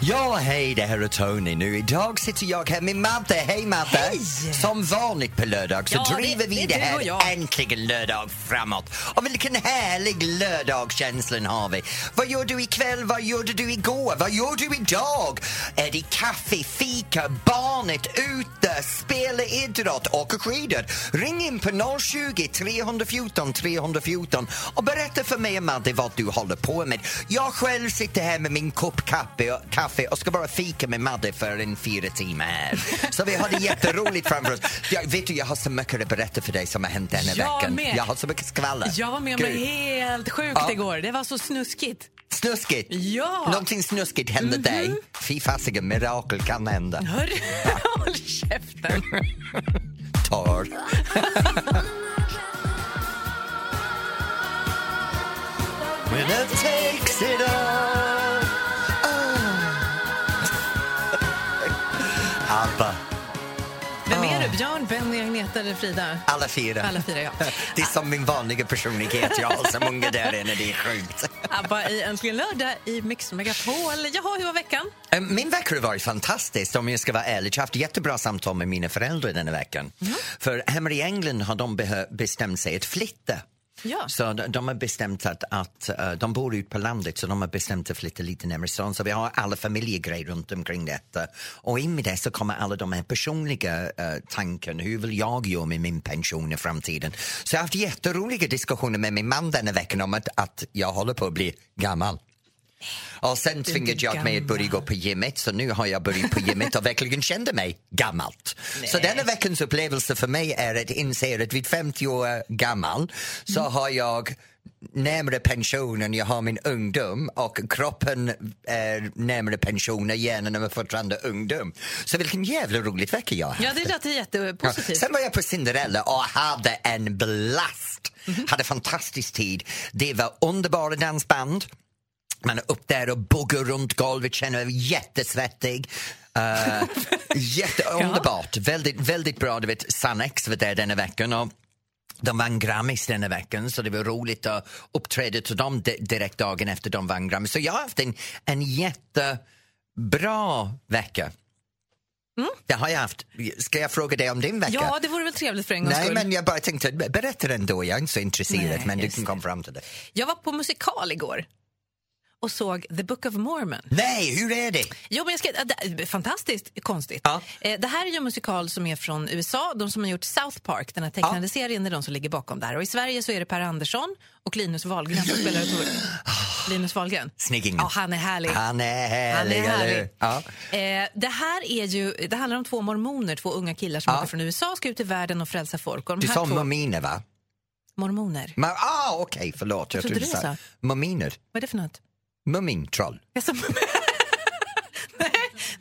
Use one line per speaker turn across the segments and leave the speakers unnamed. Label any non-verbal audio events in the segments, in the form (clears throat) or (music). Ja, hej, det här är Tony nu. Idag sitter jag här med Madde. Hej Madde! Som vanligt på lördag så
Ja, det-
driver vi
det är
det,
du och
här
jag.
äntligen lördag framåt. Och vilken härlig lördagkänslan har vi. Vad gör du ikväll? Vad gjorde du igår? Vad gör du idag? Är det kaffe, fika, barnet ute, spela idrott, åka skidor? Ring in på 020 314 314 och berätta för mig och Madde vad du håller på med. Jag själv sitter här med min kopp kaffe, kaffe och ska bara fika med Madde för en fyra timmar här. Så vi har det jätteroligt framför oss. Jag, vet du, jag har så mycket att berätta för dig som har hänt denna
Jag
veckan.
med.
Jag har så mycket skvaller.
Jag var med om något
Gud.
helt sjukt igår. Det var så snuskigt.
Snuskigt!
Ja. Mhm.
Någonting snuskigt hände dig. Fy fasiken, mirakel kan hända.
Hör, (laughs) håll käften. (laughs)
Tar. When it takes it all. Ah. Abba.
Vem är
Ah.
du? Björn, Benny, Agneta eller Frida?
Alla fyra.
Alla fyra,
(laughs)
ja.
Det är som min vanliga personlighet. Jag har så många där inne, det är sjukt.
ABBA i Äntligen lördag i Mix Megapol. Jaha, hur var veckan?
Eh, Min vecka har varit fantastisk om jag ska vara ärlig. Jag har haft jättebra samtal med mina föräldrar den här veckan. För hemma i England har de behö- bestämt sig att flytta.
Ja.
Så de, de har bestämt att, att eh, de bor ut på landet så de har bestämt att flytta lite närmare stan. Så vi har alla familjegrejer runt omkring detta. Och in med det så kommer alla de här personliga eh, tanken. Hur vill jag göra med min pension i framtiden? Så jag har haft jätteroliga diskussioner med min man den här veckan om att, att jag håller på att bli gammal. Och sen tvingade jag mig att börja gå på gymmet så nu har jag börjat på gymmet och verkligen kände mig gammalt. Så denna veckans upplevelse för mig är att inse att vid 50 år gammal så har jag närmare pensionen, jag har min ungdom och kroppen är närmare pensionen, hjärnan är fortfarande ungdom. Så vilken jävla rolig vecka jag har
Ja, det lät jättepositivt.
Sen var jag på Cinderella och hade en blast. Hade fantastisk tid. Det var underbara dansband. Man är upp där och buggar runt golvet, känner mig jättesvettig. Eh, jätteunderbart. Väldigt, väldigt bra. Du vet, Sannex var där denna veckan. Och de vann Grammis denna veckan så det var roligt att uppträda till dem di- direkt dagen efter de vann Grammis. Så jag har haft en, en jättebra vecka. Det har jag haft. Ska jag fråga dig om din vecka?
Ja, det vore väl trevligt för en gångs
Nej,
skull.
men jag bara tänkte, berätta den då. Jag är inte så intresserad,
Nej,
men du
just
kan komma fram till det.
Jag var på musikal igår och såg The Book of Mormon.
Nej, hur är det?
Jo, men jag ska, äh, det är fantastiskt konstigt.
Ja.
Eh, Det här är ju en musikal som är från USA. De som har gjort South Park, den här tecknade serien, är de som ligger bakom där. Och i Sverige så är det Per Andersson och Linus Wahlgren som spelar
(gasps)
Tor. Linus Wahlgren.
Sniggingen.
Ja, han är härlig.
Han är
Han
härlig,
är
eller
härlig.
hur? Ja.
Eh, det här är ju, det handlar om två mormoner, två unga killar som
Ja.
åker från USA ska ut i världen och frälsa folk. Och de
Du
här
sa
två,
muminer, va?
mormoner.
Ma- ah, Okej, förlåt.
trodde
du
du
sa
sa.
muminer.
Vad är det för något?
Mumintroll.
Jag sa, (laughs) nej,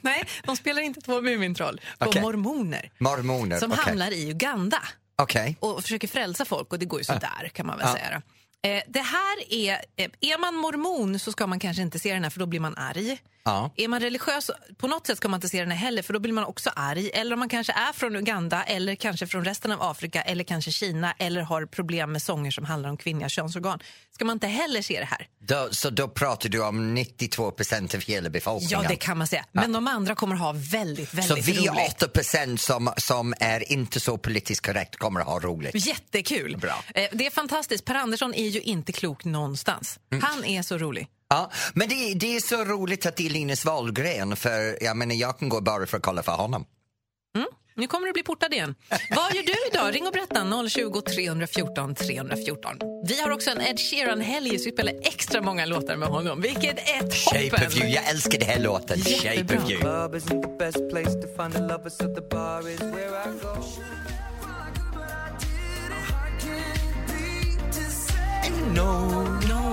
nej, de spelar inte två Mumintroll. Två
Okej.
mormoner
Mormoner.
som
okej.
hamnar i Uganda.
Okej.
och försöker frälsa folk och det går ju sådär kan man väl
Ja.
säga. då. Eh, det här är, eh, är man mormon så ska man kanske inte se den här för då blir man arg.
Ja.
Är man religiös på något sätt ska man inte se den här heller för då blir man också arg. Eller om man kanske är från Uganda eller kanske från resten av Afrika eller kanske Kina eller har problem med sånger som handlar om kvinnliga könsorgan. Ska man inte heller se det här?
Då, så då pratar du om 92 procent av hela befolkningen.
Ja, det kan man säga. Men de andra kommer ha väldigt, väldigt
så vi
roligt.
8 procent som, som är inte så politiskt korrekt kommer att ha roligt.
Jättekul!
Bra.
Eh, Det är fantastiskt. Per Andersson är ju inte klok någonstans.
Mm.
Han är så rolig.
Ja, men det, det är så roligt att det är Linus Wahlgren, för jag menar, jag kan gå bara för att kolla för honom.
Nu kommer du bli portad igen. Vad gör du idag? Ring och berätta. 020 314 314. Vi har också en Ed Sheeran-helg så vi spelar extra många låtar med honom. Vilket är
Shape
toppen!
of you, jag älskar den här låten. Shape
Jättebra.
of you.
club isn't the best place to find a lover, so the bar is where I go.
No, no, no.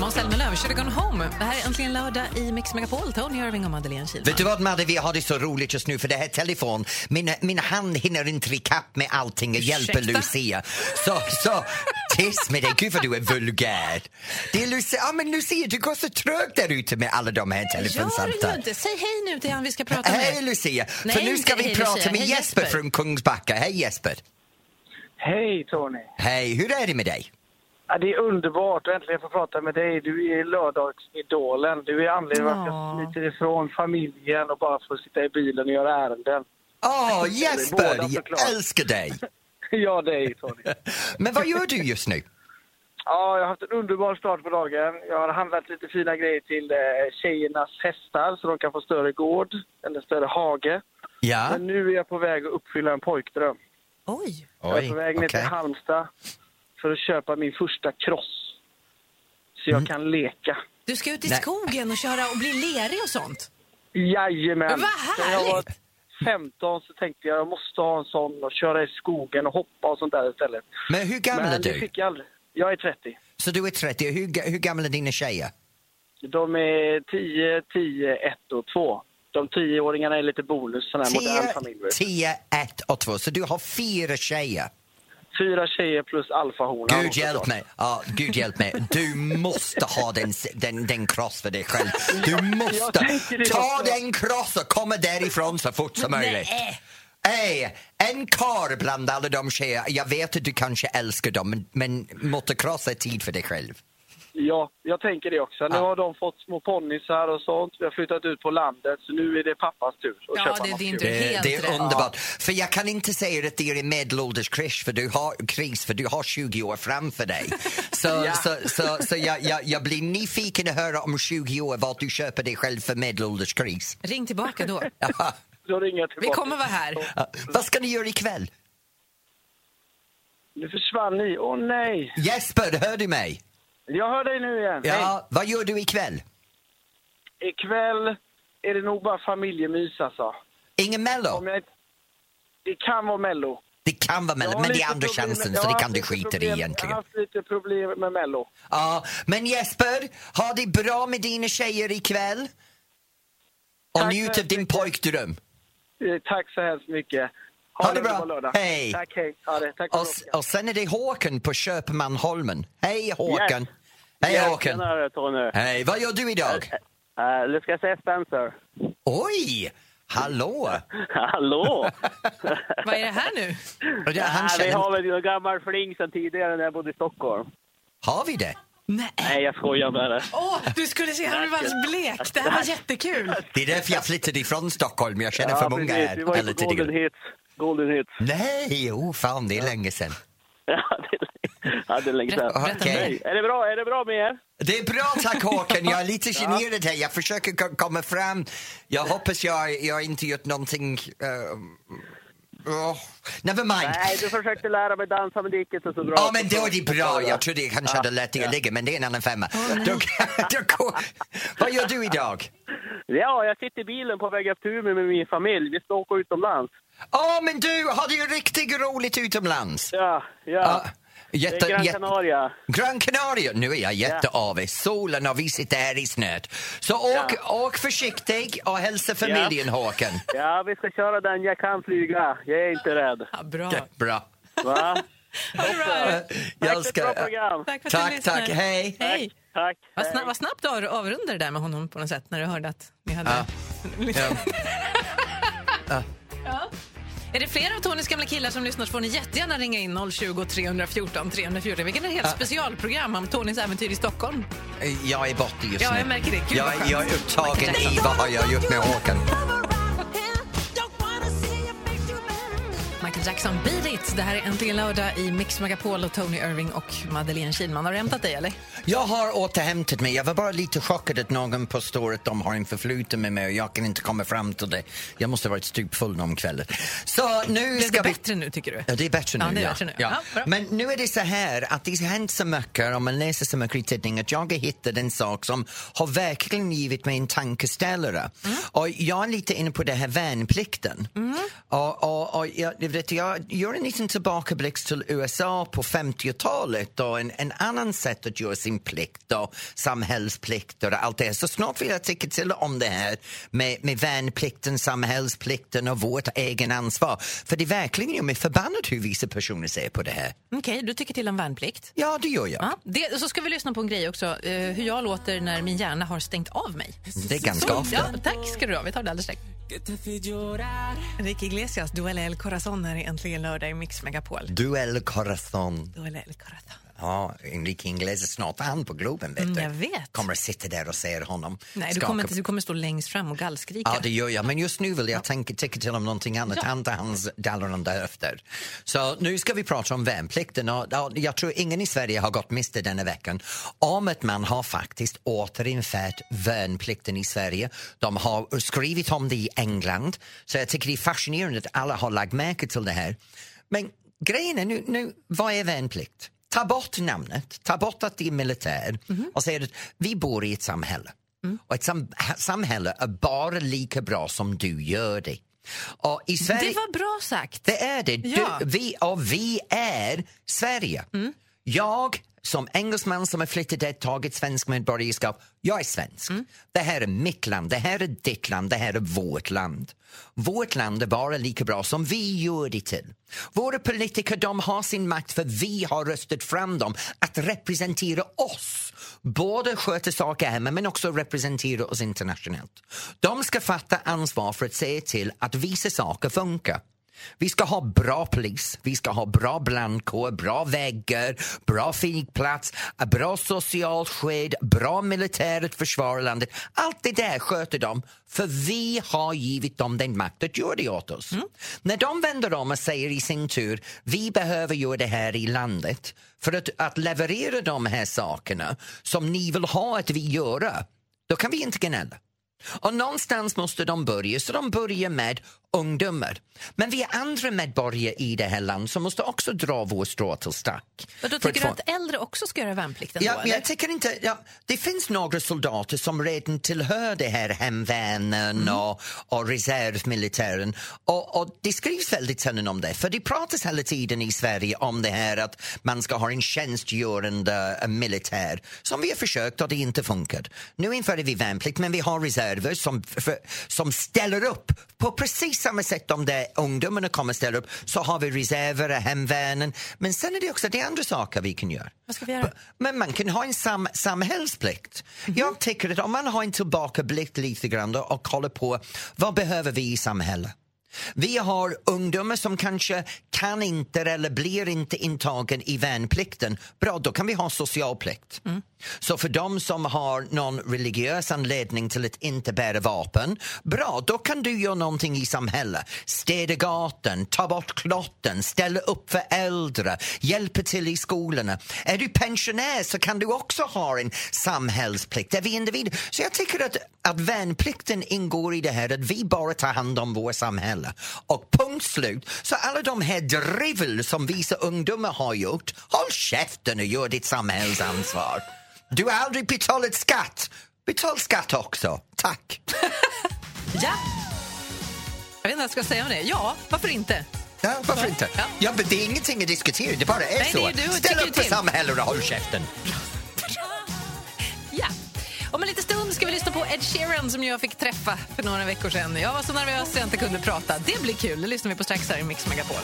Måns Zelmerlöw, Should I Gone Home. Det här är äntligen lördag i Mix Megapol. Tony Irving och Madeleine Kihlman.
Vet du vad Madde, vi har det så roligt just nu för det här telefon, min, min hand hinner inte ikapp med allting och hjälper
Ursäkta?
Lucia. Så, så, tyst med dig, gud vad du är vulgär. Det är Lucia, ja men Lucia du går så trögt där ute med alla de här
Gör du
telefonsamtalen.
inte? Säg hej nu till han vi ska prata med.
Hej Lucia,
Nej,
för nu ska
inte
vi
hej,
prata
Lucia.
med
Hej,
Jesper,
Jesper.
från Kungsbacka. Hej Jesper!
Hej Tony!
Hej, hur är det med dig?
Ja, det är underbart att äntligen få prata med dig. Du är lördagsidolen. Du är anledningen till att
Ja.
jag smiter ifrån familjen och bara får sitta i bilen och göra ärenden. (laughs)
Åh,
båda
Ah, Jesper!
såklart.
Jag älskar
(laughs)
dig!
Jag dig,
(laughs)
Tony.
Men vad gör du just nu?
Ja, jag har haft en underbar start på dagen. Jag har handlat lite fina grejer till eh, tjejernas hästar så de kan få större gård eller större hage.
Ah.
Ja?
Men nu är jag på väg att uppfylla en pojkdröm.
Oj!
jag är på väg ner
okej.
till Halmstad för att köpa min första cross. Så
Mm.
jag kan leka.
Du ska ut i
Nej.
skogen och köra och bli lerig och sånt.
Jajamän!
Vad
När jag var
härligt!
15 så tänkte jag jag måste ha en sån och köra i skogen och hoppa och sånt där istället.
Men hur gammal är
Men det
du?
fick jag aldrig. Jag är 30.
Så du är 30. Hur, ga- hur gamla är dina tjejer?
De är 10, 10, 1 och 2. De 10-åringarna är lite bonus, sån här modern familj.
10, 1 och 2. Så du har fyra tjejer.
Fyra tjejer plus alfahonan.
Gud hjälp mig. Ja, Gud hjälp mig. Du måste ha den, den, den cross för dig själv. Du måste.
(laughs) Jag tänker det
Ta
också.
den cross och komma därifrån så fort som möjligt. Hej, en kar bland alla de tjejer. Jag vet att du kanske älskar dem, men, men motocross är tid för dig själv.
Ja, jag tänker det också. Nu
Ja.
har de fått små ponnysar och sånt. Vi har flyttat ut på landet, så nu är det pappas tur att
Ja,
köpa
det är
något
din
kul.
tur.
Det,
Helt
det är
rätt.
underbart. För jag kan inte säga att det är en medelålders kris för du har, kris, för du har 20 år framför dig. Så, så, så, så jag, jag, jag blir nyfiken att höra om 20 år vad du köper dig själv för medelålders kris.
Ring tillbaka då.
Ja.
Då ringer jag
Vi
tillbaka.
kommer vara här.
vad ska ni göra ikväll?
Nu försvann ni. Åh nej!
Jesper, hör du mig?
Jag hör dig nu igen.
Ja, vad gör du ikväll?
Nej, ikväll är det nog bara familjemys alltså.
Ingen Mello?
Om jag... inte- Det kan vara Mello.
Det kan vara
Jag
Mello,
har
men det är
lite
andra
problem med-
chansen
jag
så
har
det
haft
kan du
lite
skita i
problem- Jag
egentligen.
har haft lite problem med Mello.
Ja, men Jesper, ha det bra med dina tjejer ikväll. Och
Tack
njut
så
av din pojkdröm.
Eh, Tack så hemskt mycket.
Ha det
en
bra.
underbar lördag.
Hej.
Tack, hej. Ha det. Tack för
Och,
frågan.
och sen är det Håkan på Köpmanholmen. Hej Håkan!
Yes.
Hej
Yes,
Håkan!
Tjenare, Tony.
Hej, vad gör du idag?
Uh, du ska säga Spencer. (laughs)
Oj! Hallå!
Hallå!
Vad är det här nu?
Ja, Han
Nej, vi
känner...
har väl en gammal fling sedan tidigare när jag bodde i Stockholm.
Har vi det?
Nej.
Nej, jag skojar med det.
Åh, du skulle se, han blev alldeles blek. Det här var jättekul.
Det är därför jag flyttade ifrån Stockholm. Jag känner för många
precis. Vi var
här.
ju
Eller
på Golden
tidigare.
Hits. Golden Hits.
Nej, oh fan, det är länge sedan.
Ja, det- ja, det är länge sedan.
Berätta
Okej.
mer.
Är det bra? Är det bra med er?
Det är bra tack Håkan, jag är
(laughs)
lite generad här. Jag försöker ko- komma fram. Jag hoppas jag, jag inte gjort någonting... eh, oh, never mind.
Nej, du försökte lära mig dansa med diket och så bra.
Ja, men då är det bra. Jag trodde jag kanske hade lätt att ligga, men det är en annan femma. Då, (laughs) då går, vad gör du idag?
Ja, jag sitter i bilen på väg upp till Umeå med min familj. Vi ska åka utomlands.
Ja, men du har det ju riktigt roligt utomlands.
Ja, ja.
Ja,
Det
jätte,
är Gran
jätte-
Canaria.
Gran Canaria. Nu är jag jätteavis. Solen har vi sitter här i snöt. Så åk, åk försiktig och hälsa familjen, Håkan.
Ja, vi ska köra den. Jag kan flyga. Jag är inte rädd.
Ja, bra.
Bra.
Va?
Ha det bra.
Tack för ett bra program.
Tack för att du
Tack,
lyssnade.
tack. Hej.
Hej.
Tack.
Vad, sna- vad snabbt du av- avrundade det där med honom på något sätt när du hörde att ni hade...
Ja. Ja.
Är det fler av Tonys gamla killar som lyssnar så får ni jättegärna ringa in 020 314 314. Vilket är ett helt specialprogram om Tonys äventyr i Stockholm.
Jag är borta just
Ja,
nu.
jag märker det. Gud,
jag,
vad
är-
skönt.
jag är upptagen i vad har jag gjort med Håkan.
Michael Jackson, Beat It! Det här är Äntligen lördag i Mix Megapol och Tony Irving och Madeleine Kilman. Har du hämtat dig eller?
Jag har återhämtat mig. Jag var bara lite chockad att någon påstår att de har en förfluten med mig och jag kan inte komma fram till det. Jag måste ha varit stupfull om kvällen. Så nu
Blev det
ska vi...
bättre nu tycker du?
Ja, det är bättre nu.
Ja, det är bättre nu.
Ja.
Ja, bra.
Men nu är det så här att det har hänt så mycket, om man läser så mycket i tidningen, att jag har hittat en sak som har verkligen givit mig en tankeställare. Och jag är lite inne på det här värnplikten. Och, och, och jag, jag vet, jag gör en liten tillbakablick till USA på 50-talet och en, en annan sätt att göra sin plikt och samhällsplikter och allt det här. Så snart vill jag tycka till om det här med, med värnplikten, samhällsplikten och vårt egen ansvar. För det är verkligen gör mig förbannad hur vissa personer ser på det här.
Okej, du tycker till om värnplikt.
Ja, det gör jag.
Ja, det, och så ska vi lyssna på en grej också, eh, hur jag låter när min hjärna har stängt av mig.
Det är ganska
Så,
ofta.
ja, tack ska du ha, vi tar det alldeles strax. Enrique Iglesias, Duell El Corazon här i Äntligen lördag i Mix Megapol.
Duell Corazon.
Duell El Corazon.
Ja, Enrique Inglés är snart han på Globen, vet
Mm,
du.
jag vet.
Kommer att sitta där och se honom.
Nej, du
skaka
kommer, inte, du kommer stå längst fram och gallskrika.
Ja, det gör jag. Men just nu vill jag tänka, tänka till om någonting annat. Anta hans dallrande höfter. Så nu ska vi prata om värnplikten. Och, ja, jag tror ingen i Sverige har gått miste denna veckan om att man har faktiskt återinfört värnplikten i Sverige. De har skrivit om det i England. Så jag tycker det är fascinerande att alla har lagt märke till det här. Men grejen är nu, nu vad är värnplikt? Ta bort namnet, ta bort att det är militär och säg att vi bor i ett samhälle.
Mm.
Och ett sam samhälle är bara lika bra som du gör det. Och i Sverige,
Det var bra sagt.
det är det. Du,
Ja.
vi, och vi är Sverige. Jag som engelsman som har flyttat dit, tagit svensk medborgarskap, jag är svensk. Det här är mitt land, det här är ditt land, det här är vårt land. Vårt land är bara lika bra som vi gör det till. Våra politiker de har sin makt för vi har röstat fram dem att representera oss. Både sköta saker hemma men också representera oss internationellt. De ska fatta ansvar för att se till att vissa saker funkar. Vi ska ha bra polis, vi ska ha bra brandkår, bra väggar, bra flygplats, ett bra socialt skydd, bra militärt försvar i landet. Allt det där sköter de, för vi har givit dem den makt att göra det åt oss. När de vänder om och säger i sin tur, vi behöver göra det här i landet för att, att leverera de här sakerna som ni vill ha att vi gör, då kan vi inte gnälla. Och någonstans måste de börja, så de börjar med ungdomar. Men vi är andra medborgare i det här landet som måste också dra vår strå till stack.
Men då
För
tycker du
få-
att äldre också ska göra värnplikten?
Ja,
då,
men
eller?
jag tycker inte... Ja, det finns några soldater som redan tillhör det här hemvärnen
Mm.
och, och reservmilitären. Och, och det skrivs väldigt sällan om det, för det pratas hela tiden i Sverige om det här att man ska ha en tjänstgörande eh, militär som vi har försökt och det inte funkat. Nu införde vi värnplikt, men vi har reserver som, för, som ställer upp på precis samma sätt de där ungdomarna kommer ställa upp. Så har vi reserver, och hemvärnen, men sen är det också det är andra saker vi kan göra.
Vad ska vi göra? Mhm.
Men man kan ha en sam samhällsplikt. Jag tycker att om man har en tillbakablick lite grann då och kollar på vad behöver vi i samhället? Vi har ungdomar som kanske kan inte eller blir inte intagen i värnplikten. Bra, då kan vi ha socialplikt.
Mm.
Så för de som har någon religiös anledning till att inte bära vapen, bra, då kan du göra någonting i samhället. Städa gatan, ta bort klotten, ställa upp för äldre, hjälpa till i skolorna. Är du pensionär så kan du också ha en samhällsplikt. Är vi individer? Så jag tycker att, att värnplikten ingår i det här att vi bara tar hand om vårt samhälle. Och punkt slut. Så alla de här drivel som vissa ungdomar har gjort, håll käften och gör ditt samhällsansvar. Du har aldrig betalat skatt. Betala skatt också. Tack.
Ja. Jag vet inte vad jag ska säga om det. Ja, varför inte?
Ja, varför inte?
Ja.
Ja, men det är ingenting att diskutera, det bara är
Nej,
så.
det är ju du och
Ställ
tycker
upp för
till.
samhället och håll käften.
Ja. Om en liten stund ska vi lyssna på Ed Sheeran som jag fick träffa för några veckor sedan. Jag var så nervös att jag inte kunde prata. Det blir kul. Det lyssnar vi på strax här i Mix Megapol.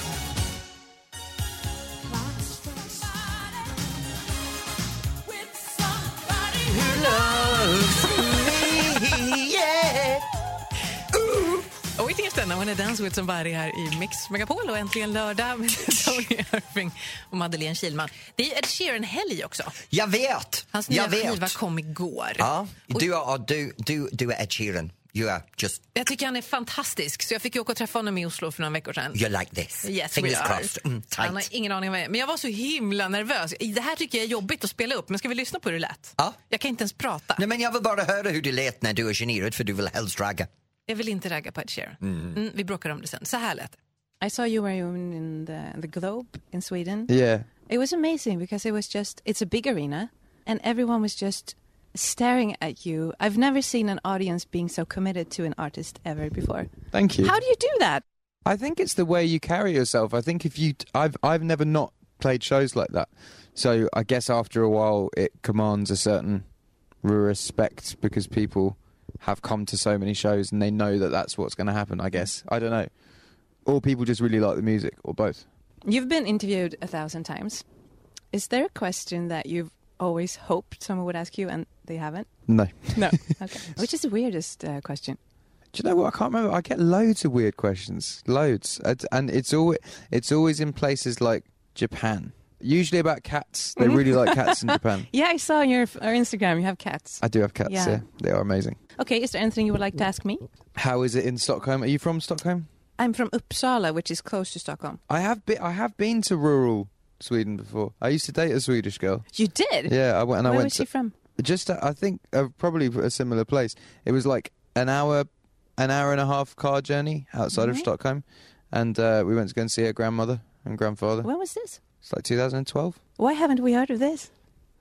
Och inte just denna, hon är Dance with somebody här i Mix Megapol och äntligen lördag med (laughs) Tony Irving och Madeleine Kilman. Det är ju Ed Sheeran-helg också.
Jag vet!
Hans nya
jag vet.
skiva kom igår.
Ja, du, är, och du, du, du är Ed Sheeran. You are just,
Jag tycker han är fantastisk, så jag fick ju åka och träffa honom i Oslo för några veckor sedan.
you're like this.
Yes,
Fingers
we are.
crossed. Mm,
Han har
tight.
ingen aning om vad jag är. Men jag var så himla nervös. Det här tycker jag är jobbigt att spela upp, men ska vi lyssna på hur det lät?
Ja.
Jag kan inte ens prata.
Nej, men jag vill bara höra hur det lät när du är generad för du vill helst ragga.
Jag vill inte ragga på Ed Sheeran. Mm, vi bråkar om det sen. Så här lät det.
I saw you were in in the the Globe in Sweden.
Yeah.
It was amazing because it was just it's a big arena and everyone was just staring at you. I've never seen an audience being so committed to an artist ever before.
Thank you.
How do you do that?
I think it's the way you carry yourself. I think if you, I've, I've never not played shows like that. So I guess after a while, it commands a certain respect because people have come to so many shows and they know that that's what's going to happen. I guess I don't know, or people just really like the music, or both.
You've been interviewed a thousand times. Is there a question that you've always hoped someone would ask you and they haven't?
No,
No. okay. Which is the weirdest uh, question?
Do you know what? I can't remember. I get loads of weird questions, loads, and, and it's always it's always in places like Japan. usually about cats.
Mm-hmm.
They really
(laughs)
like cats in Japan.
Yeah, I saw on your our Instagram you have cats.
I do have cats.
Yeah.
Yeah. they are amazing.
Okay, is there anything you would like to ask me?
How is it in Stockholm? Are you from Stockholm?
I'm from Uppsala, which is close to Stockholm.
I have been. I have been to rural Sweden before. I used to date a Swedish girl.
You did?
Yeah, I went and I
Where
went
was
to
she from?
just. uh, I think uh, probably a similar place. It was like an hour, an hour and a half car journey outside
Mm-hmm.
of Stockholm, and uh, we went to go and see her grandmother and grandfather.
When was this?
It's like 2012.
Why haven't we heard of this?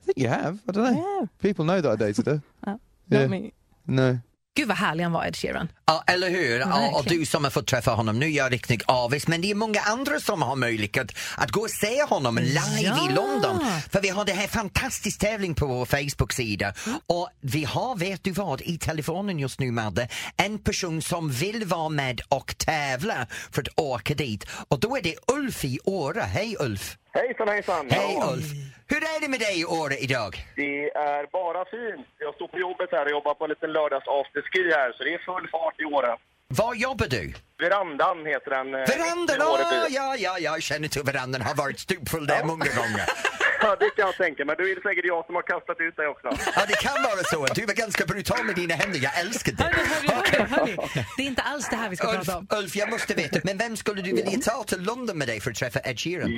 I think you have. I don't know.
Yeah.
People know that I dated
(laughs)
her.
Not
Yeah.
me.
No.
Gud vad härlig han var Ed Sheeran.
Ja, eller hur? Ja, och
Verkligen.
du som har fått träffa honom, nu är jag riktigt avis, men det är många andra som har möjlighet att gå och se honom live
Ja.
i London. För vi har det här fantastisk tävling på vår Facebook-sida och vi har, vet du vad, i telefonen just nu Madde, en person som vill vara med och tävla för att åka dit och då är det Ulf i Åre. Hej Ulf!
Hejsan, hejsan!
Hej
Ja,
Ulf! Hur är det med dig i Åre idag?
Det är bara fint. Jag står på jobbet här och jobbar på en liten lördags-afterski här, så det är full fart i år.
Var jobbar du?
Verandan heter den. eh,
Verandan!
i Åreby.
Ah, ja, ja, ja, jag känner till verandan, har varit stupfull där många gånger.
(laughs) (laughs) Ja, det kan jag tänka mig. Du är det säkert jag som har kastat ut dig också.
Ja, det kan vara så. Du var ganska brutal med dina händer. Jag älskar det.
Hörni, hörni, hörni, hörni. Det är inte alls det här vi ska
Ulf,
prata om.
Ulf, jag måste veta, men vem skulle du vilja ta till London med dig för att träffa Ed Sheeran?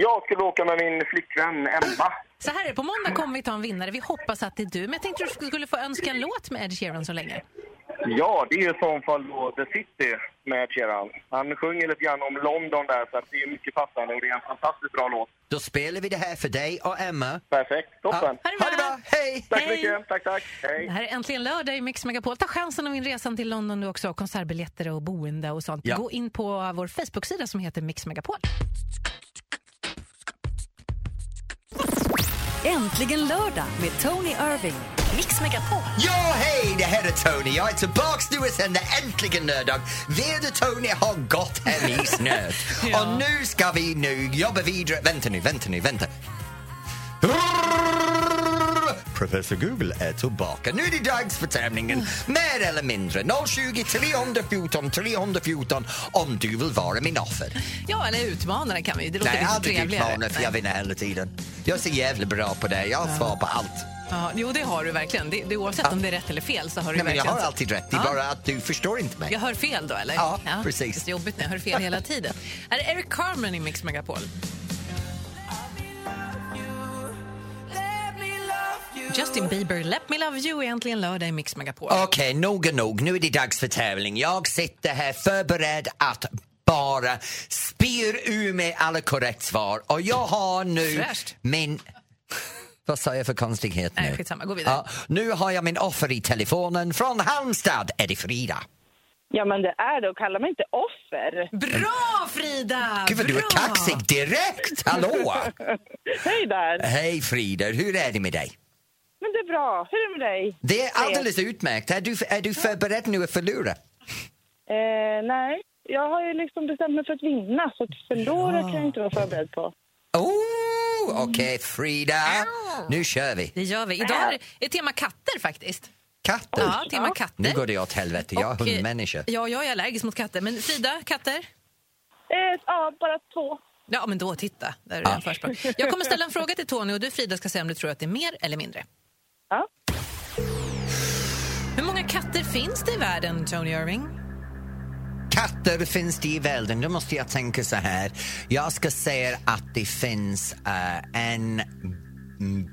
Jag skulle åka med min flickvän Emma.
Så här är det, på måndag kommer vi ta en vinnare. Vi hoppas att det är du. Men jag tänkte att du skulle få önska en låt med Ed Sheeran så länge.
Ja, det är i så fall då The City med Sheeran. Han sjunger lite grann om London där, så att det är mycket passande och det är en fantastiskt bra låt.
Då spelar vi det här för dig och Emma.
Perfekt, toppen!
Ja, Ha det bra, hej!
Tack så
Hej.
mycket, tack, tack! Hej!
Det här är äntligen lördag i Mix Megapol. Ta chansen att vinna resan till London du också. Konsertbiljetter och boende och sånt.
Ja.
Gå in på vår Facebook-sida som heter Mix Megapol.
Äntligen lördag med Tony Irving. Mix Megapol.
Ja, hej! Det här är Tony. Jag är tillbaks nu och sänder äntligen lördag. Väder Tony har gått hem
(laughs)
i snöd. Och nu ska vi nu jobba vidare. Vänta nu, vänta nu, vänta. Professor Google är tillbaka. Nu är det dags för tävlingen. Mer eller mindre. 020 314 314 om du vill vara min offer.
Ja, eller utmanare kan vi ju. Det låter
Nej,
lite
aldrig utmana
trevligare.
för jag vinner hela tiden. Jag är så jävla bra på det. Jag svarar på allt.
Ja, jo, det har du verkligen. Det, det, oavsett om det är rätt eller fel så har du
Nej, men jag
verkligen...
har alltid rätt. Det är
Ja.
bara att du förstår inte mig.
Jag hör fel då, eller?
Ja, precis.
Det är så jobbigt när jag hör fel hela tiden. Här är Eric Carmen i Mix Megapol. Justin Bieber, Let Me Love You är äntligen lördag i Mix Megapol.
Okej, nog är nog. Nu är det dags för tävling. Jag sitter här förberedd att bara spyr ur mig alla korrekt svar. Och jag har nu
Fräscht.
min... Vad sa jag för konstighet nu?
Nej, skitsamma. Gå vidare.
Ja, nu har jag min offer i telefonen. Från Halmstad är det Frida.
Ja, men det är det. Och kalla mig inte offer.
Bra, Frida!
Gud vad du
Bra!
är kaxig direkt! Hallå!
(laughs) Hej där!
Hej Frida, hur är det med dig?
Men det är bra. Hur är det med dig?
Det är alldeles utmärkt. Är du, är du förberedd nu att förlora?
Eh, nej, jag har ju liksom bestämt mig för att vinna, så att förlora kan jag inte vara förberedd på.
Oh, Okej Frida, nu kör vi.
Det gör vi. Idag är, är tema katter faktiskt.
Katter.
Ja, tema katter.
Nu går det åt helvete. Jag är
Och, eh,
hundmänniska.
Ja, jag är allergisk mot katter. Men Frida, katter?
Eh, ja, bara två.
Ja, men då titta. Där är det en försprång. Jag kommer ställa en fråga till Tony och du Frida ska säga om du tror att det är mer eller mindre.
Ja.
Hur många katter finns det i världen, Tony Irving?
Katter finns det i världen. Då måste jag tänka så här. Jag ska säga att det finns eh, en... mm,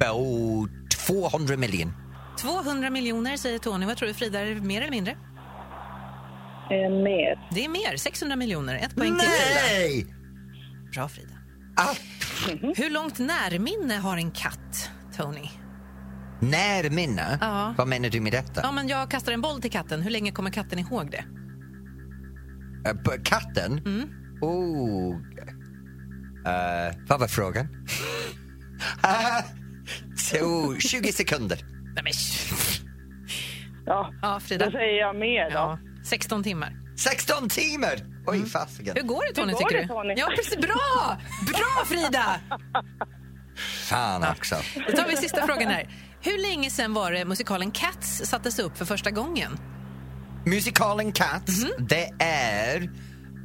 bo- 200 miljoner.
200 miljoner säger Tony. Vad tror du Frida, är det mer eller mindre?
Eh, mer.
Det är mer, 600 miljoner. Ett poäng till Frida.
Nej!
Bra Frida.
Ah,
Mm.
Hur långt närminne har en katt, Tony?
närminne?
Ja.
Vad menar du med detta?
Ja, men jag kastar en boll till katten. Hur länge kommer katten ihåg det?
Eh, b- katten?
Mm.
Oh. Eh, vad var frågan? (laughs) Ah, så, 20 sekunder.
Nej, men...
(laughs) Ja,
Ja,
då
Frida.
säger jag mer då.
Ja, 16 timmar.
16 timmar! Oj, fasiken.
Mm. Hur går det Tony
Hur går
tycker
det,
du?
Tony?
Ja, precis. Bra! Bra Frida!
Fan också.
Då tar vi sista frågan här. Hur länge sen var det musikalen Cats sattes upp för första gången?
Musikalen Mhm. Cats, det är...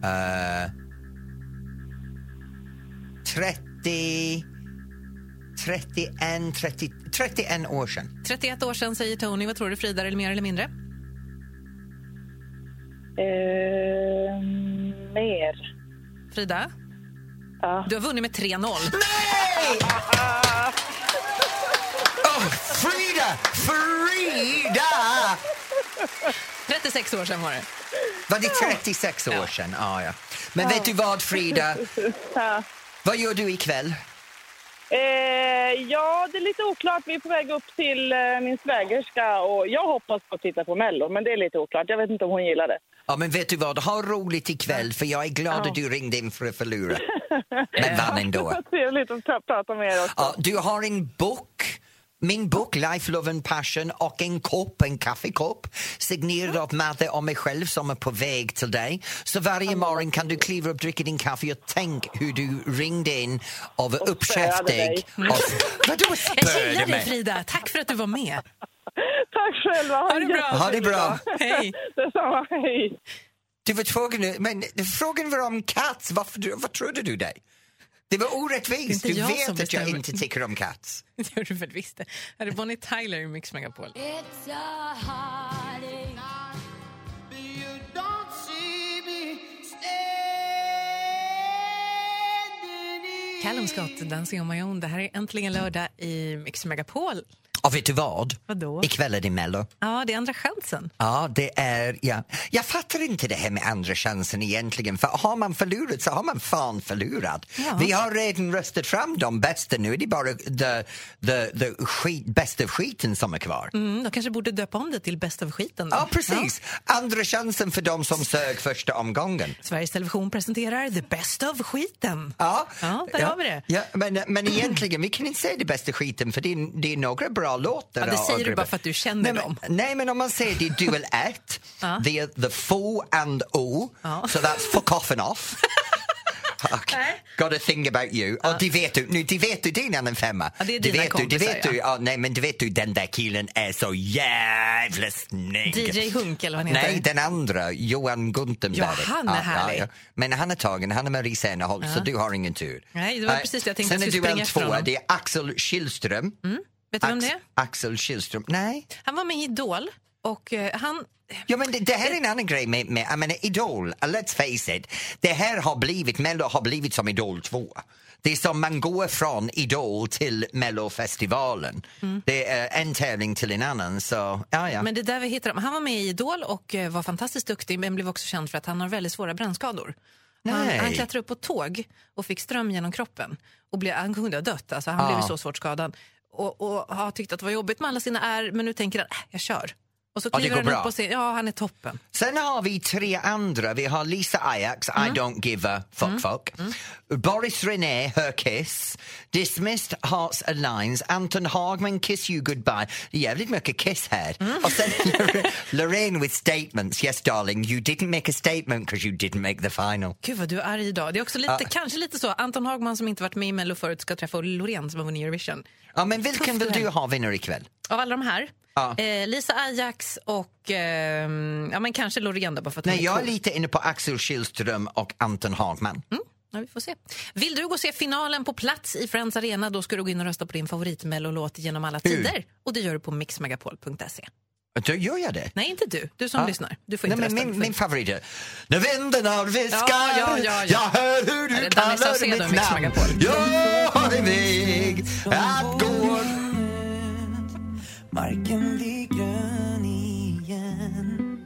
eh, 30... 31, 30, 31 år sedan.
31 år sedan säger Tony. Vad tror du, Frida? Eller mer eller mindre?
Eh, mer.
Frida?
Ja.
Du har vunnit med 3-0.
Nej! (laughs) Oh, Frida! Frida!
36 år sedan var det.
Var det 36 år sedan? Ja, ja. Men vet du vad, (laughs) Frida?
Ja.
Vad gör du ikväll?
Eh, ja, det är lite oklart. Vi är på väg upp till eh, min svägerska och jag hoppas på att titta på Mello, men det är lite oklart. Jag vet inte om hon gillar det.
Ja, men vet du vad? Ha roligt ikväll, för jag är glad att du ringde in för att förlora. Men vann
(laughs)
ändå.
Vad trevligt att pra- prata med er också.
Ja, du har en bok, min bok Life, Love and Passion och en kopp, en kaffekopp signerad av Madde och mig själv som är på väg till dig. Så varje morgon kan du kliva upp, dricka din kaffe och tänk hur du ringde in och var uppkäftig.
dig.
Och, vadå
Jag
spöade
gillar dig,
mig?
Frida. Tack för att du var med.
Tack själva!
Ha det bra.
Ha det bra.
Hej.
Detsamma, hej!
Du var tvungen, men frågan var om katt. Varför, du- vad trodde du dig? Det var orättvist.
Det är inte jag
Du vet
som
att jag
bestämmer.
inte tycker om katt.
Det gör du väl visst. Det här är Bonnie Tyler i Mix Megapol. Callum Scott, Dancing on my own. Det här är äntligen lördag i Mix Megapol.
Och vet du vad?
Vadå?
Ikväll är det Mello.
Ja, det är andra chansen.
Ja, det är... Ja. Jag fattar inte det här med andra chansen egentligen. För har man förlorat så har man fan förlorat.
Ja.
Vi har redan röstat fram de bästa nu. Det är bara the, the, the skit, bästa av skiten som är kvar.
Mm, de kanske borde döpa om det till Bäst av skiten. då.
Ja, precis. Andra chansen för de som sög första omgången.
Ja. Sveriges Television presenterar The Best of skiten.
Ja,
Ja, där
ja,
har vi det.
Ja, men, men egentligen, vi kan inte säga det bästa skiten för det är, det är några bra låtar.
Ja, det
och-
säger
och
du
grupper.
bara för att du känner
nej,
dem.
Men, nej, men om man säger det är
(laughs)
duel 1, det är the fo and o,
Ja.
so that's fuck off
(laughs)
and off. Och Got a thing about you. Och det vet du, nu det vet du, det är en annan femma.
Ja, det är
det
dina
vet du, det
kompisar,
vet du, ja, nej men det vet du, den där killen är så jävla snygg.
DJ Hunk, eller vad han heter.
Nej, den andra, Johan Guntenberg.
Ja, han är härlig.
Men han är tagen, han är Marie Serneholt, så du har ingen tur.
Nej, det var precis det jag tänkte,
Sen
jag
är
skulle
duell
springa efter
två,
honom.
det är Axel Kihlström.
Vet du vem det är?
Axel Kihlström, nej.
Han var med i Idol och eh, han...
Ja, men det, det här är en annan grej med, med jag menar, Idol, uh, let's face it, det här har blivit, Mello har blivit som Idol 2. Det är som man går från Idol till Mellofestivalen.
Mm.
Det är en tävling till en annan, så ja, ja.
Men det är där vi hittar honom. Han var med i Idol och eh, var fantastiskt duktig men blev också känd för att han har väldigt svåra brännskador. Han,
Nej.
han klättrade upp på tåg och fick ström genom kroppen. Och blev, han kunde ha dött, alltså, han blev ju så svårt skadad. Och, och har tyckt att det var jobbigt med alla sina är men nu tänker han, äh, jag kör. Och så
Ja, det
kliver
går
han
bra.
upp och säger, ja han är toppen.
Sen har vi tre andra. Vi har Lisa Ajax, I don't give a fuck fuck. Boris René, Her Kiss. Dismissed Hearts Aligns. Anton Hagman, Kiss You Goodbye. Det är jävligt mycket Kiss här. Och sen Lor- Lorraine with statements. Yes darling, you didn't make a statement because you didn't make the final.
Gud vad du är arg idag. Det är också lite, kanske lite så, Anton Hagman som inte varit med i Mello förut ska träffa Loreen som har vunnit Eurovision.
Ja, men vilken vill
duell.
du ha vinnare ikväll?
Av alla de här,
Ja.
eh, Lisa Ajax och eh, ja, men kanske Loreen då bara för att hon
Nej, jag är
cool.
lite inne på Axel Kihlström och Anton Hagman.
Ja, vi får se. Vill du gå och se finalen på plats i Friends Arena då ska du gå in och rösta på din favoritmellolåt genom alla tider. Och det gör du på mixmegapol.se.
Då gör jag det.
Nej, inte du. Du som
Ja.
lyssnar. Du får
Nej,
inte
men
rösta. Du
min,
får
min
inte.
favorit är När vinden har viskar
Ja, ja, ja, ja.
Jag hör hur
det är Danny
du kallar
Saucedo,
mitt
Mix
namn
Megapol.
Jag är väg att gå
Marken blir grön igen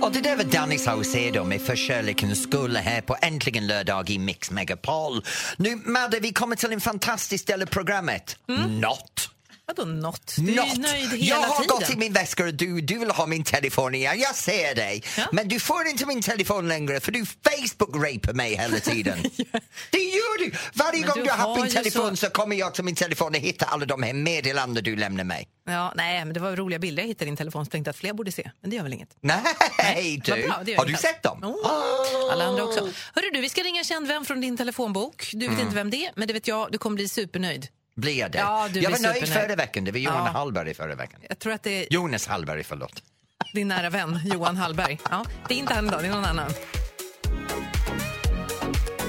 Och det där var Danny Saucedo med För kärlekens skull här på Äntligen lördag i Mix Megapol. Nu Madde, vi kommer till en fantastisk del av programmet.
Mm.
Not.
Vadå något? Du är ju
Not.
nöjd hela
Jag har
tiden.
gått i min väska och du, du vill ha min telefon igen. Jag ser dig. Men du får inte min telefon längre för du Facebook-rapar mig hela tiden.
(laughs)
Det gör du! Varje
Men
gång
du
du har haft
har
min
ju
telefon
så-
så... kommer jag till min telefon och hittar alla de här meddelanden du lämnar mig.
Ja, nej, men det var roliga bilder jag hittade i din telefon så tänkte jag att fler borde se. Men det gör väl inget.
Nej
Vad
du!
bra, det gör inget
har du
alls.
sett dem?
Oh.
Ah.
Alla andra också. Hörru du, vi ska ringa en känd vän från din telefonbok. Du vet
Mm.
inte vem det är, men det vet jag. Du kommer bli supernöjd.
Blir jag det?
Ja, du
jag var
blir
nöjd
supernöjd.
förra veckan. Det var Johan
Ja.
Hallberg förra veckan.
Jag tror att det är
Jonas Hallberg, förlåt.
Din nära vän Johan Hallberg. Ja, det är inte han idag, det är någon annan.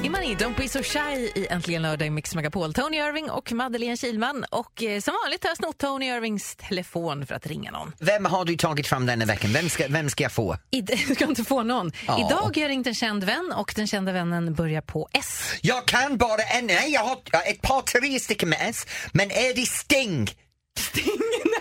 Imani, Don't Be So Shy i Äntligen lördag i Mix Megapol. Tony Irving och Madeleine Kilman. Och eh, som vanligt har jag snott Tony Irvings telefon för att ringa någon.
Vem har du tagit fram denna veckan? Vem ska, vem ska jag få?
I, (laughs) du ska inte få någon.
Ja.
Idag har jag ringt en känd vän och den kända vännen börjar på S.
Jag kan bara en, nej jag har jag har ett par tre stycken med S, men är det Sting?
(laughs) Sting?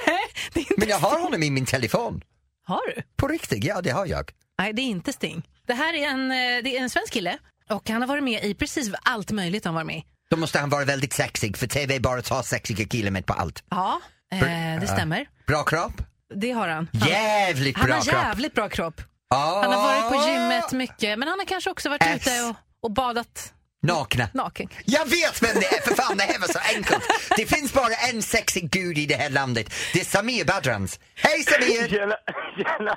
Nej, det är inte
Men jag har honom i min telefon.
Har du?
På riktigt, ja det har jag.
Nej, det är inte Sting. Det här är en, eh, det är en svensk kille och han har varit med i precis allt möjligt han har varit med i.
Då måste han vara väldigt sexig för TV bara tar sexiga killar med på allt.
Ja, eh, det stämmer.
Bra kropp?
Det har han. Han,
Jävligt
han
bra
har
kropp! Ah.
jävligt bra kropp. Han har varit på gymmet mycket, men han har kanske också varit
Äss.
ute och, och badat
Nakna.
naken.
Jag vet vem det är, för fan det här var så enkelt. Det finns bara en sexig gud i det här landet. Det är Samir Badrans. Hej
(laughs)
Samir!
Tjena, (laughs) tjena,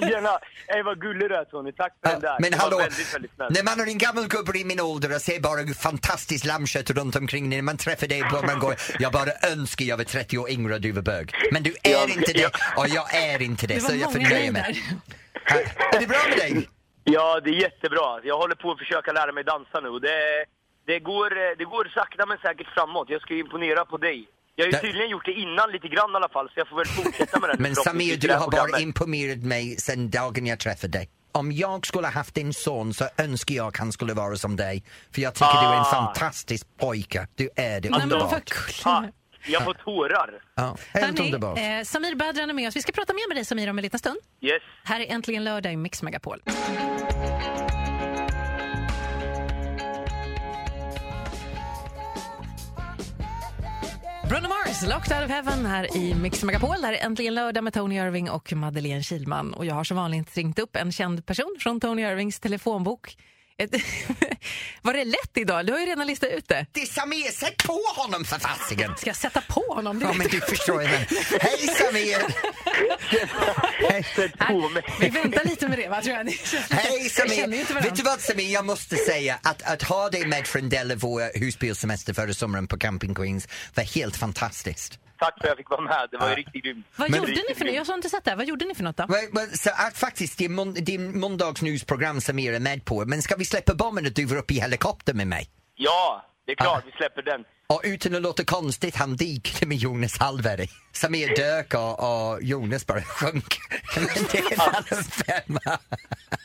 tjena. Ey vad gullig du är Tony, tack för den där.
Men
Det var
hallå,
Väldigt, väldigt snällt.
när man är en gammal gubbe i min ålder och ser bara fantastiskt lammkött runt omkring när man träffar dig på man går, jag bara önskar jag var 30 år yngre och du var bög. Men du är
Ja,
inte det
ja.
och jag är inte det,
Det var
så jag
många nej
förnöjer mig.
där.
Ja, Är det bra med dig?
Ja, det är jättebra. Jag håller på att försöka lära mig dansa nu. Det, det, går, eh, det går sakta men säkert framåt. Jag ska ju imponera på dig. Jag har ju
Det-
tydligen gjort det innan lite grann i alla fall, så jag får väl fortsätta med det.
(laughs)
nu
Men
förhoppningsvis
Samir,
i
du
det här
har bara
programmet.
imponerat mig sedan dagen jag träffade dig. Om jag skulle ha haft en son så önskar jag att han skulle vara som dig. För jag tycker du är en
Ah.
fantastisk pojke. Du är det.
Nej, men vad
Underbart.
Ah,
kul.
jag får tårar.
Ja, helt
Hörni,
underbart.
eh, Samir Badran är med oss. Vi ska prata mer med dig Samir om en liten stund.
Yes.
Här är Äntligen lördag i Mix Megapol. Bruno Mars, Locked Out of Heaven här i Mix Megapol. Det här är Äntligen lördag med Tony Irving och Madeleine Kilman. Och jag har som vanligt ringt upp en känd person från Tony Irvings telefonbok. Ett- (laughs) Var det lätt idag? Du har ju redan listat ut det.
Det är Samir, sätt på honom för fasiken!
Ska jag sätta på honom? Det
Ja,
vet
men
jag
du
inte.
förstår ju. Hej Samir!
Sätt på mig.
Vi väntar lite med det, va? Tror jag. Ni känns lite-
Hej
Vi känner ju inte
Samir!
varandra.
Vet du vad Samir, jag måste säga att, att ha dig med från Delle, vår husbilsemester förra sommaren på Camping Queens var helt fantastiskt.
Tack för att jag fick vara med. Det var ju riktigt grymt.
Vad
Men-
gjorde ni för något? Jag har inte sett det. här. Vad gjorde ni för något då?
Well, well, så att faktiskt, det är, mån- det är måndagsnewsprogram som er är med på. Men ska vi släppa bomben att du var uppe i helikopter med mig?
Ja, det är klart. Vi släpper den.
Och utan att låta konstigt, han dikte med Jonas Hallberg. Som er dök och, och Jonas bara sjönk. (laughs) Men det är en annan femma.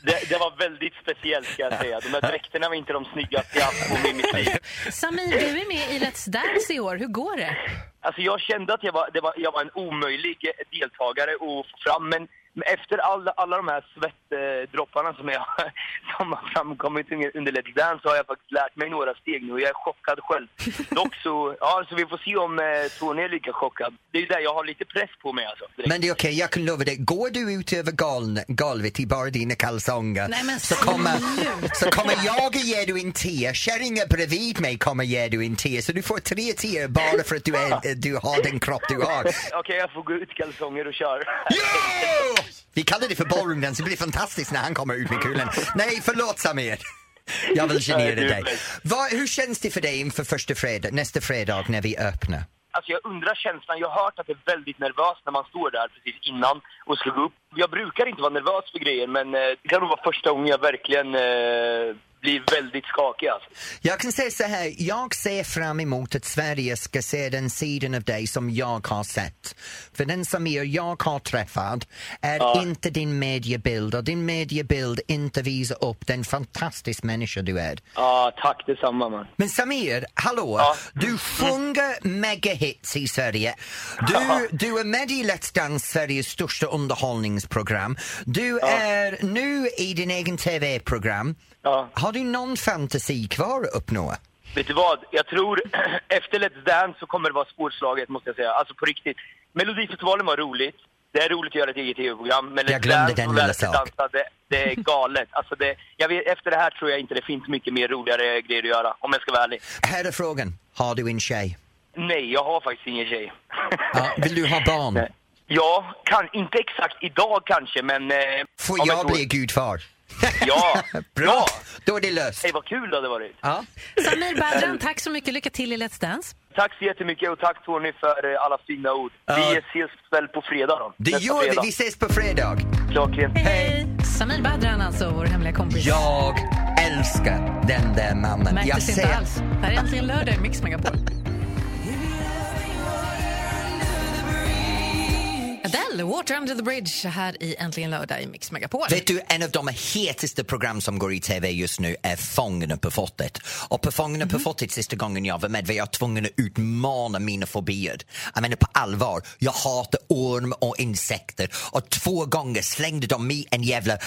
Det, det var väldigt speciellt ska jag säga. De där dräkterna var inte de snyggaste jag haft på mig i
(laughs)
mitt liv.
Samir, du är med i Let's Dance i år. Hur går det?
Alltså jag kände att jag var, det var, jag var en omöjlig eh, deltagare att få fram, men men efter alla, alla de här svettdropparna som, jag, (laughs) som har framkommit under under Let's Dance så har jag faktiskt lärt mig några steg nu och jag är chockad själv. Dock så, ja, så vi får se om eh, Tony är lika chockad. Det är ju där jag har lite press på mig alltså. direkt.
Men det är okej, jag kan lova dig. Går du ut över goln- golvet i bara dina kalsonger
Nej, men
så, kommer,
sluta.
så kommer jag att ge dig en te. Kärringen bredvid mig kommer ge dig en te. Så du får tre teer bara för att du, är, du har den kropp du har.
Okej, jag får gå ut kalsonger och köra.
Ja! Vi kallar det för ballroomdance, det blir fantastiskt när han kommer ut med kulan. Nej, förlåt Samir. Jag vill genera
Nej, du är
dig.
bäst.
Vad, hur känns det för dig inför första fredag, nästa fredag när vi öppnar?
Alltså jag undrar känslan, jag har hört att det är väldigt nervöst när man står där precis innan och ska gå upp. Jag brukar inte vara nervös för grejer men eh, det kan nog vara första gången jag verkligen eh, blir väldigt skakig alltså.
Jag kan säga så här, jag ser fram emot att Sverige ska se den sidan av dig som jag har sett. För den Samir jag har träffat är inte din mediebild och din mediebild inte visar upp den fantastiska människa du är.
Ja, tack detsamma man.
Men Samir, hallå!
Ja.
Du sjunger megahits i Sverige. Du, du är med i Let's Dance, Sveriges största underhållningsprogram. Du är nu i din egen TV-program.
Ja.
Har du någon fantasi kvar att uppnå?
Vet du vad? Jag tror (clears throat) efter Let's Dance så kommer det vara spårslaget måste jag säga. Alltså på riktigt. Melodifestivalen var roligt. Det är roligt att göra ett eget TV-program. Men Let's
Jag glömde
Dance
den
och
lilla
Let's
sak.
Dance, det, det är galet. Alltså det, jag vet, efter det här tror jag inte det finns mycket mer roligare grejer att göra. Om jag ska vara ärlig.
Här är frågan, har du en tjej?
Nej, jag har faktiskt ingen tjej.
Ja, vill
(laughs)
du ha barn?
Nej. Ja, kan, inte exakt idag kanske, men... eh,
Får
om ett
jag
år.
bli gudfar?
Ja!
(laughs) Bra! Då är det löst.
Hej, vad kul det hade varit.
Ja.
Samir Badran, tack så mycket. Lycka till i Let's Dance.
Tack så jättemycket och tack Tony för eh, alla fina ord.
Ja.
Vi ses väl på fredag då?
Det
Nästa
gör vi.
fredag.
Vi ses på fredag.
Klockrent.
Hej! Samir Badran, alltså, vår hemliga kompis.
Jag älskar den där mannen.
Märktes
Jag
inte
ser-
alls. Det här är äntligen lördag i Mix Megapol. Adele, Water Under the Bridge, här i Äntligen lördag i Mix Megapol.
Vet du, en av de hetaste program som går i tv just nu är Fångarna på fortet. Och på Fångarna på fortet sista gången jag var med var jag tvungen att utmana mina fobier. Jag menar på allvar, jag hatar orm och insekter och två gånger slängde de mig en jävla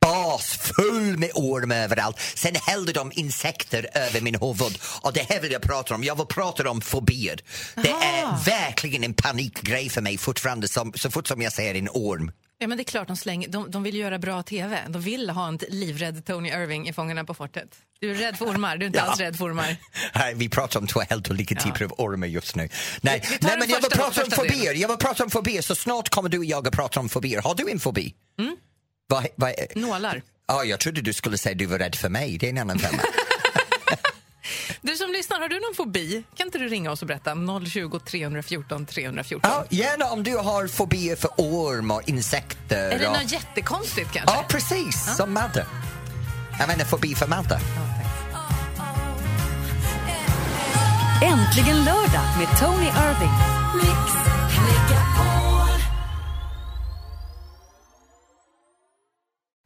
bas full med orm överallt. Sen hällde de insekter över min huvud. Och det här vill jag prata om. Jag vill prata om fobier. Det
Aha.
är verkligen en panikgrej för mig fortfarande som, så fort som jag ser en orm.
Ja, men det är klart, de, slänger, de, de vill göra bra tv. De vill ha en t- livrädd Tony Irving i Fångarna på fortet. Du är rädd för ormar, du är inte
Ja.
alls rädd för ormar.
Nej, vi pratar om två helt olika typer av ormar just nu. Nej,
Vi- vi tar
nej
den
men jag vill
första-
prata om
första delen.
fobier. Jag vill prata om fobier, så snart kommer du och jag att prata om fobier. Har du en fobi?
Mm.
Vad- vad-
Nålar.
Ja, jag trodde du skulle säga att du var rädd för mig. Det är en
(laughs)
annan femma.
Du som lyssnar, har du någon fobi? Kan inte du ringa oss och berätta? 020 314 314.
ja, gärna om du har fobier för orm och insekter.
Är det
och...
något jättekonstigt kanske?
Ja, precis. Som Madde. Jag menar fobi för Madde.
Äntligen lördag med Tony Irving.